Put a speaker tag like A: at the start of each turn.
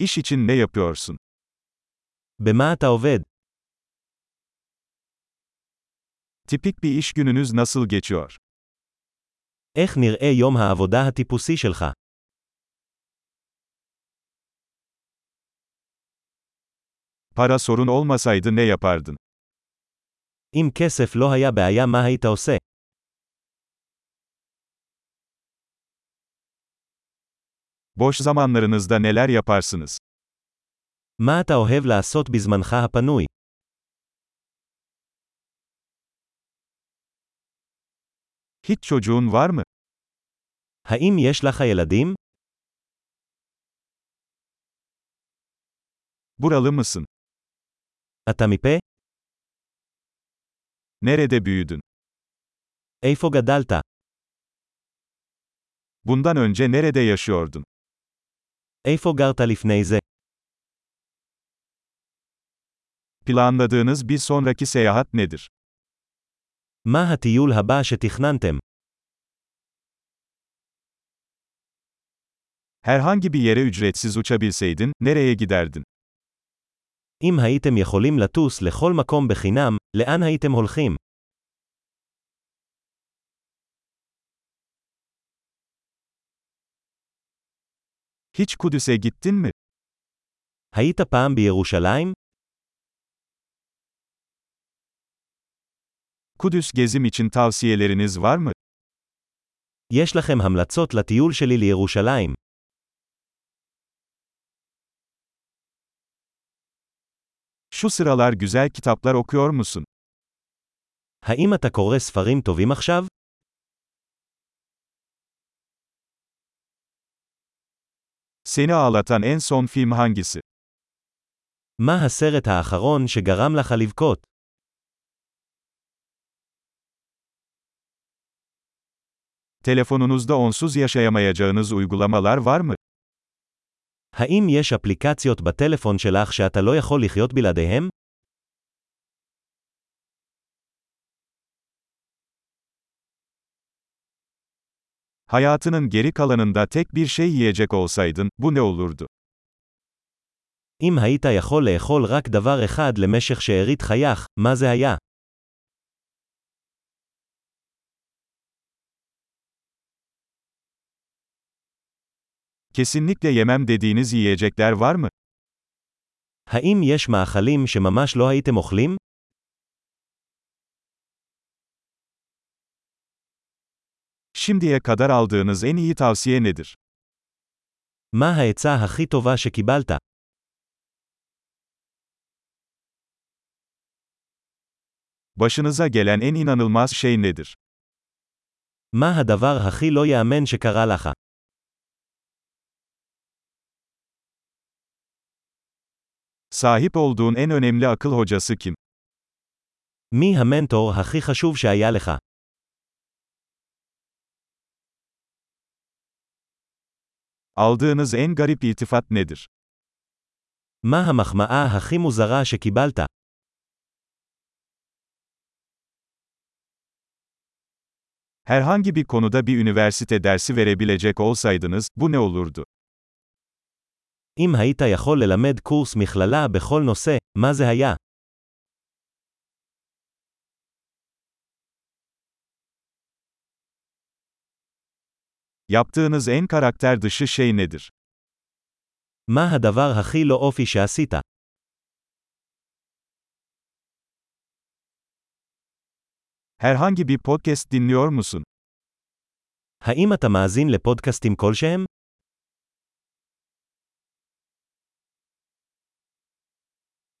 A: İş için ne yapıyorsun?
B: במה אתה עובד?
A: Tipik bir iş gününüz nasıl geçiyor?
B: איך נראה יום העבודה הטיפוסי שלך?
A: Para sorun olmasaydı ne yapardın?
B: אם כסף לא היה בעיה מה היית עושה?
A: Boş zamanlarınızda neler yaparsınız?
B: מה אתה אוהב לעשות בזמנך הפנוי?
A: Hiç çocuğun var mı?
B: האם יש לך ילדים?
A: Buralı mısın?
B: אתה מפה?
A: Nerede büyüdün?
B: איפה גדלת?
A: Bundan önce nerede yaşıyordun?
B: איפה גרת לפני זה?
A: Planladığınız bir sonraki seyahat nedir?
B: מה הטיול הבא שתכננתם?
A: Herhangi bir yere ücretsiz uçabilseydin, nereye giderdin?
B: אם הייתם יכולים לטוס לכל מקום בחינם, לאן הייתם הולכים?
A: Hiç Kudüs'e gittin mi?
B: היית פעם בירושלים?
A: Kudüs gezim için tavsiyeleriniz var mı?
B: יש לכם המלצות לטיול שלי לירושלים.
A: Şu sıralar güzel kitaplar okuyor musun?
B: האם אתה קורא ספרים טובים עכשיו?
A: Seni ağlatan en son film hangisi?
B: מה הסרט האחרון שגרם לך לבכות?
A: Telefonunuzda onsuz yaşayamayacağınız uygulamalar var mı?
B: האם יש אפליקציות בטלפון שלך שאתה לא יכול לחיות בלעדיהם?
A: Hayatının geri kalanında tek bir şey yiyecek olsaydın, bu ne olurdu?
B: אם היית יכול לאכול רק דבר אחד למשך שארית חייך, מה זה היה?
A: Kesinlikle yemem dediğiniz yiyecekler var mı?
B: האם יש מאכלים שממש לא הייתם אוכלים?
A: Şimdiye kadar aldığınız en iyi tavsiye nedir?
B: מה העצה הכי טובה שקיבלת?
A: Başınıza gelen en inanılmaz şey nedir?
B: מה הדבר הכי לא ייאמן שקרה לך?
A: Sahip olduğun en önemli akıl hocası kim?
B: מי המנטור הכי חשוב שהיה לך?
A: Aldığınız en garip iltifat nedir?
B: מה המחמאה הכי מוזרה שקיבלת?
A: Herhangi bir konuda bir üniversite dersi verebilecek olsaydınız, bu ne olurdu?
B: אם היית יכול ללמד קורס מכללה בכל נושא, מה זה היה?
A: Yaptığınız en karakter dışı şey nedir?
B: מה הדבר הכי לא אופי שעשית?
A: Herhangi bir podcast dinliyor musun?
B: האם אתה מאזין לפודקאסטים כלשהם?